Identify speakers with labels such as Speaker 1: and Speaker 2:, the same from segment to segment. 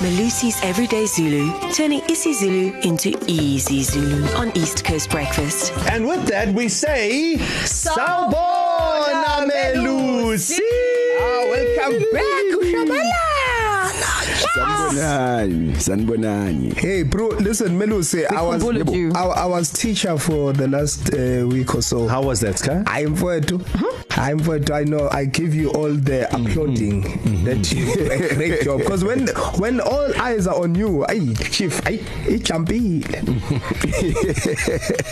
Speaker 1: Malusi's Everyday Zulu, turning isiZulu into easy Zulu on East Coast Breakfast.
Speaker 2: And with that, we say, Sawubona Melusi! Ah, welcome
Speaker 3: Sanbonani, sanbonani.
Speaker 4: Hey, bro, listen, Meluse, I was
Speaker 5: bullied you.
Speaker 4: I, I was teacher for the last uh, week or so.
Speaker 2: How was that, Sky?
Speaker 4: I'm for it. I'm for it. I know. I give you all the
Speaker 2: Mm-hmm.
Speaker 4: applauding that you do a great job. Because when when all eyes are on you, I chief, I it jumpy.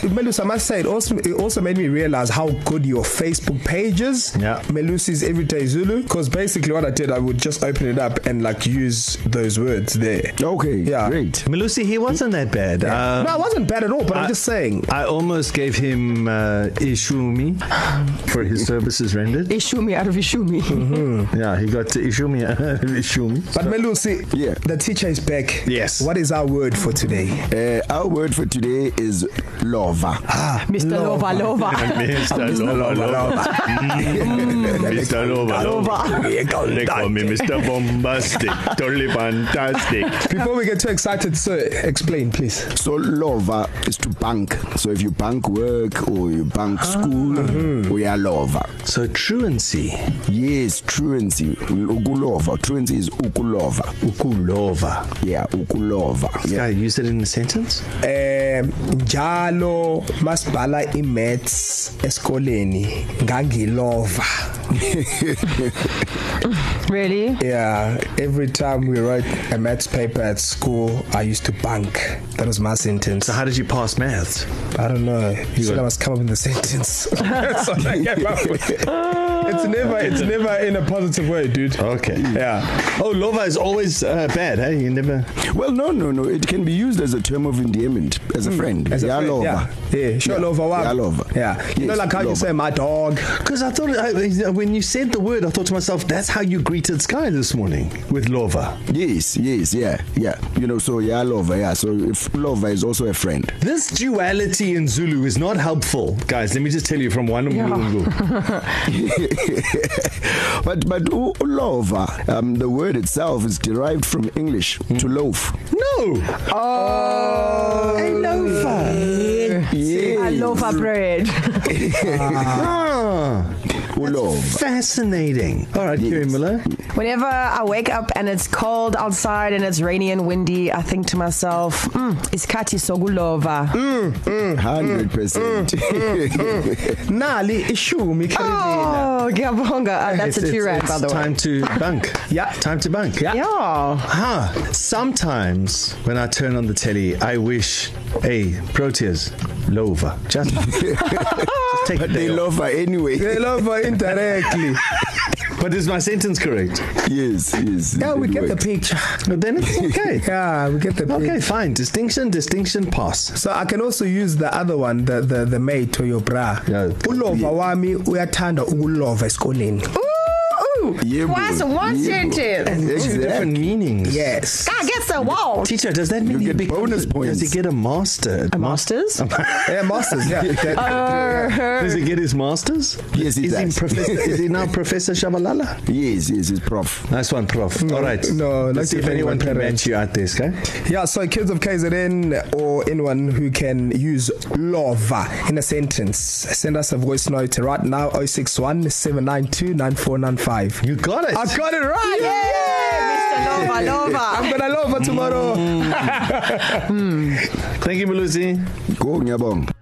Speaker 4: Melusa, I must say, it also it also made me realize how good your Facebook page is.
Speaker 2: Yeah.
Speaker 4: Melusi's Everyday Zulu. Because basically, what I did, I would just open it up and like use those words there.
Speaker 3: Okay,
Speaker 4: Yeah.
Speaker 3: great.
Speaker 2: Melusi, he wasn't that bad. Uh,
Speaker 4: no, it wasn't bad at all. But I,
Speaker 2: I-
Speaker 4: am just saying.
Speaker 2: I almost gave him uh, Ishumi for his services rendered.
Speaker 5: Ishumi out of Ishumi.
Speaker 2: Yeah, he got Ishumi. Ishumi.
Speaker 4: But Melusi,
Speaker 3: Yeah.
Speaker 4: the teacher is back.
Speaker 2: Yes.
Speaker 4: What is our word for today?
Speaker 3: Uh, our word for today is lover.
Speaker 5: Mr. Lova Lova.
Speaker 2: Mr. Mr. Lova Lova. They call me Mr. Bombastic. totally fantastic.
Speaker 4: Before we get too excited, sir, explain, please.
Speaker 3: So lover is to bank. So if you bank work or you
Speaker 4: Ah.
Speaker 3: bank school,
Speaker 4: Mm-hmm.
Speaker 3: we are lover.
Speaker 2: So truancy.
Speaker 3: Yes, truancy, ukulova. Truancy is ukulova.
Speaker 2: Ukulova.
Speaker 3: Yeah, ukulova.
Speaker 2: Yeah,
Speaker 3: Yeah.
Speaker 2: use it in a sentence.
Speaker 4: Um, njalo masibhala i-maths esikoleni ngangilova
Speaker 5: really?
Speaker 4: yeah every time we wrote a maths paper at school i used to bank that was my sentence
Speaker 2: So how did you pass maths?
Speaker 4: i don't know you said
Speaker 2: got-
Speaker 4: i must come up with a sentence That's what I came up with. it's never it's never in a positive way dude
Speaker 2: Okay.
Speaker 4: yeah
Speaker 2: Oh, lova is always uh, bad, hey? You never.
Speaker 3: Well, no, no, no. It can be used as a term of endearment, as a friend.
Speaker 4: Mm, As a
Speaker 3: yeah,
Speaker 4: friend,
Speaker 3: lover.
Speaker 4: yeah. yeah sure
Speaker 3: Yeah,
Speaker 4: lover wami.
Speaker 3: yeah, lover.
Speaker 4: yeah you know
Speaker 3: Yes,
Speaker 4: like how you
Speaker 3: lover.
Speaker 4: say my dog
Speaker 2: Because I thought, I, when you said the word, I thought to myself, that's how you greeted Sky this morning with lova.
Speaker 3: Yes, yes, yeah, yeah. You know, so yeah, lover, yeah. So if lover is also a friend.
Speaker 2: This duality in Zulu is not helpful, guys. Let me just tell you from one
Speaker 5: Yeah.
Speaker 2: Umlungu.
Speaker 3: but but u- ulova, um, the word itself is derived from English
Speaker 5: Hmm.
Speaker 3: to loaf.
Speaker 2: No,
Speaker 5: Oh. I love I love bread.
Speaker 2: ah,
Speaker 3: Ulova.
Speaker 2: fascinating. All right, Kerry Miller.
Speaker 5: Whenever I wake up and it's cold outside and it's rainy and windy, I think to myself, mm, iskati sogulova. Mm.
Speaker 3: Hundred percent.
Speaker 5: Hmm.
Speaker 4: nali ishumi Carolina.
Speaker 5: Oh, Gabonga. Uh, that's a two rand, by the way.
Speaker 2: Time to bunk.
Speaker 4: Yeah.
Speaker 2: time to bunk.
Speaker 5: Yeah.
Speaker 2: Huh. Sometimes when I turn on the telly, I wish, hey, Proteas, Lova. Just, just take
Speaker 3: But
Speaker 2: the day
Speaker 5: Hmm.
Speaker 3: they
Speaker 2: off.
Speaker 3: love her anyway.
Speaker 4: They love her indirectly.
Speaker 2: But is my sentence correct?
Speaker 3: yes, yes.
Speaker 4: yeah, we
Speaker 3: it
Speaker 4: get the
Speaker 3: works.
Speaker 4: picture.
Speaker 2: But then it's okay.
Speaker 4: Yeah, we get the picture.
Speaker 2: Okay, fine. Distinction, distinction, pass.
Speaker 4: So I can also use the other one, the the, the mate or your bra.
Speaker 2: Yeah.
Speaker 4: Ulova wami uyathandwa ukulova esikoleni.
Speaker 5: Ooh, ooh.
Speaker 3: Yeah,
Speaker 5: Twice
Speaker 3: boy.
Speaker 5: in one
Speaker 3: Yeah, boy.
Speaker 5: sentence.
Speaker 3: Exactly.
Speaker 2: Different meanings.
Speaker 4: Yes.
Speaker 5: I get the wall.
Speaker 2: Teacher, does that mean
Speaker 3: You
Speaker 2: he
Speaker 3: get
Speaker 2: becomes-
Speaker 3: bonus points.
Speaker 2: Does he get a master?
Speaker 5: A master's?
Speaker 4: Yeah, masters. Yeah.
Speaker 2: Does he get his masters?
Speaker 3: Yes, he
Speaker 2: is
Speaker 3: does.
Speaker 2: He professor, is he now Professor Shabalala?
Speaker 3: Yes, yes, it's prof.
Speaker 2: Nice one, Prof. All right.
Speaker 4: no,
Speaker 2: Let's
Speaker 4: like
Speaker 2: see if
Speaker 4: if anyone
Speaker 2: anyone can
Speaker 4: can
Speaker 2: match you out there, okay?
Speaker 4: yeah. So kids of KZN or anyone who can use lova in a sentence, send us a voice note right now. 061 792 9495.
Speaker 2: You got
Speaker 3: Ah.
Speaker 2: it.
Speaker 4: I got it right. Yeah.
Speaker 5: Lova, lova.
Speaker 4: I'm gonna love her tomorrow.
Speaker 2: Thank you, Malusi.
Speaker 3: Go, Nyabong.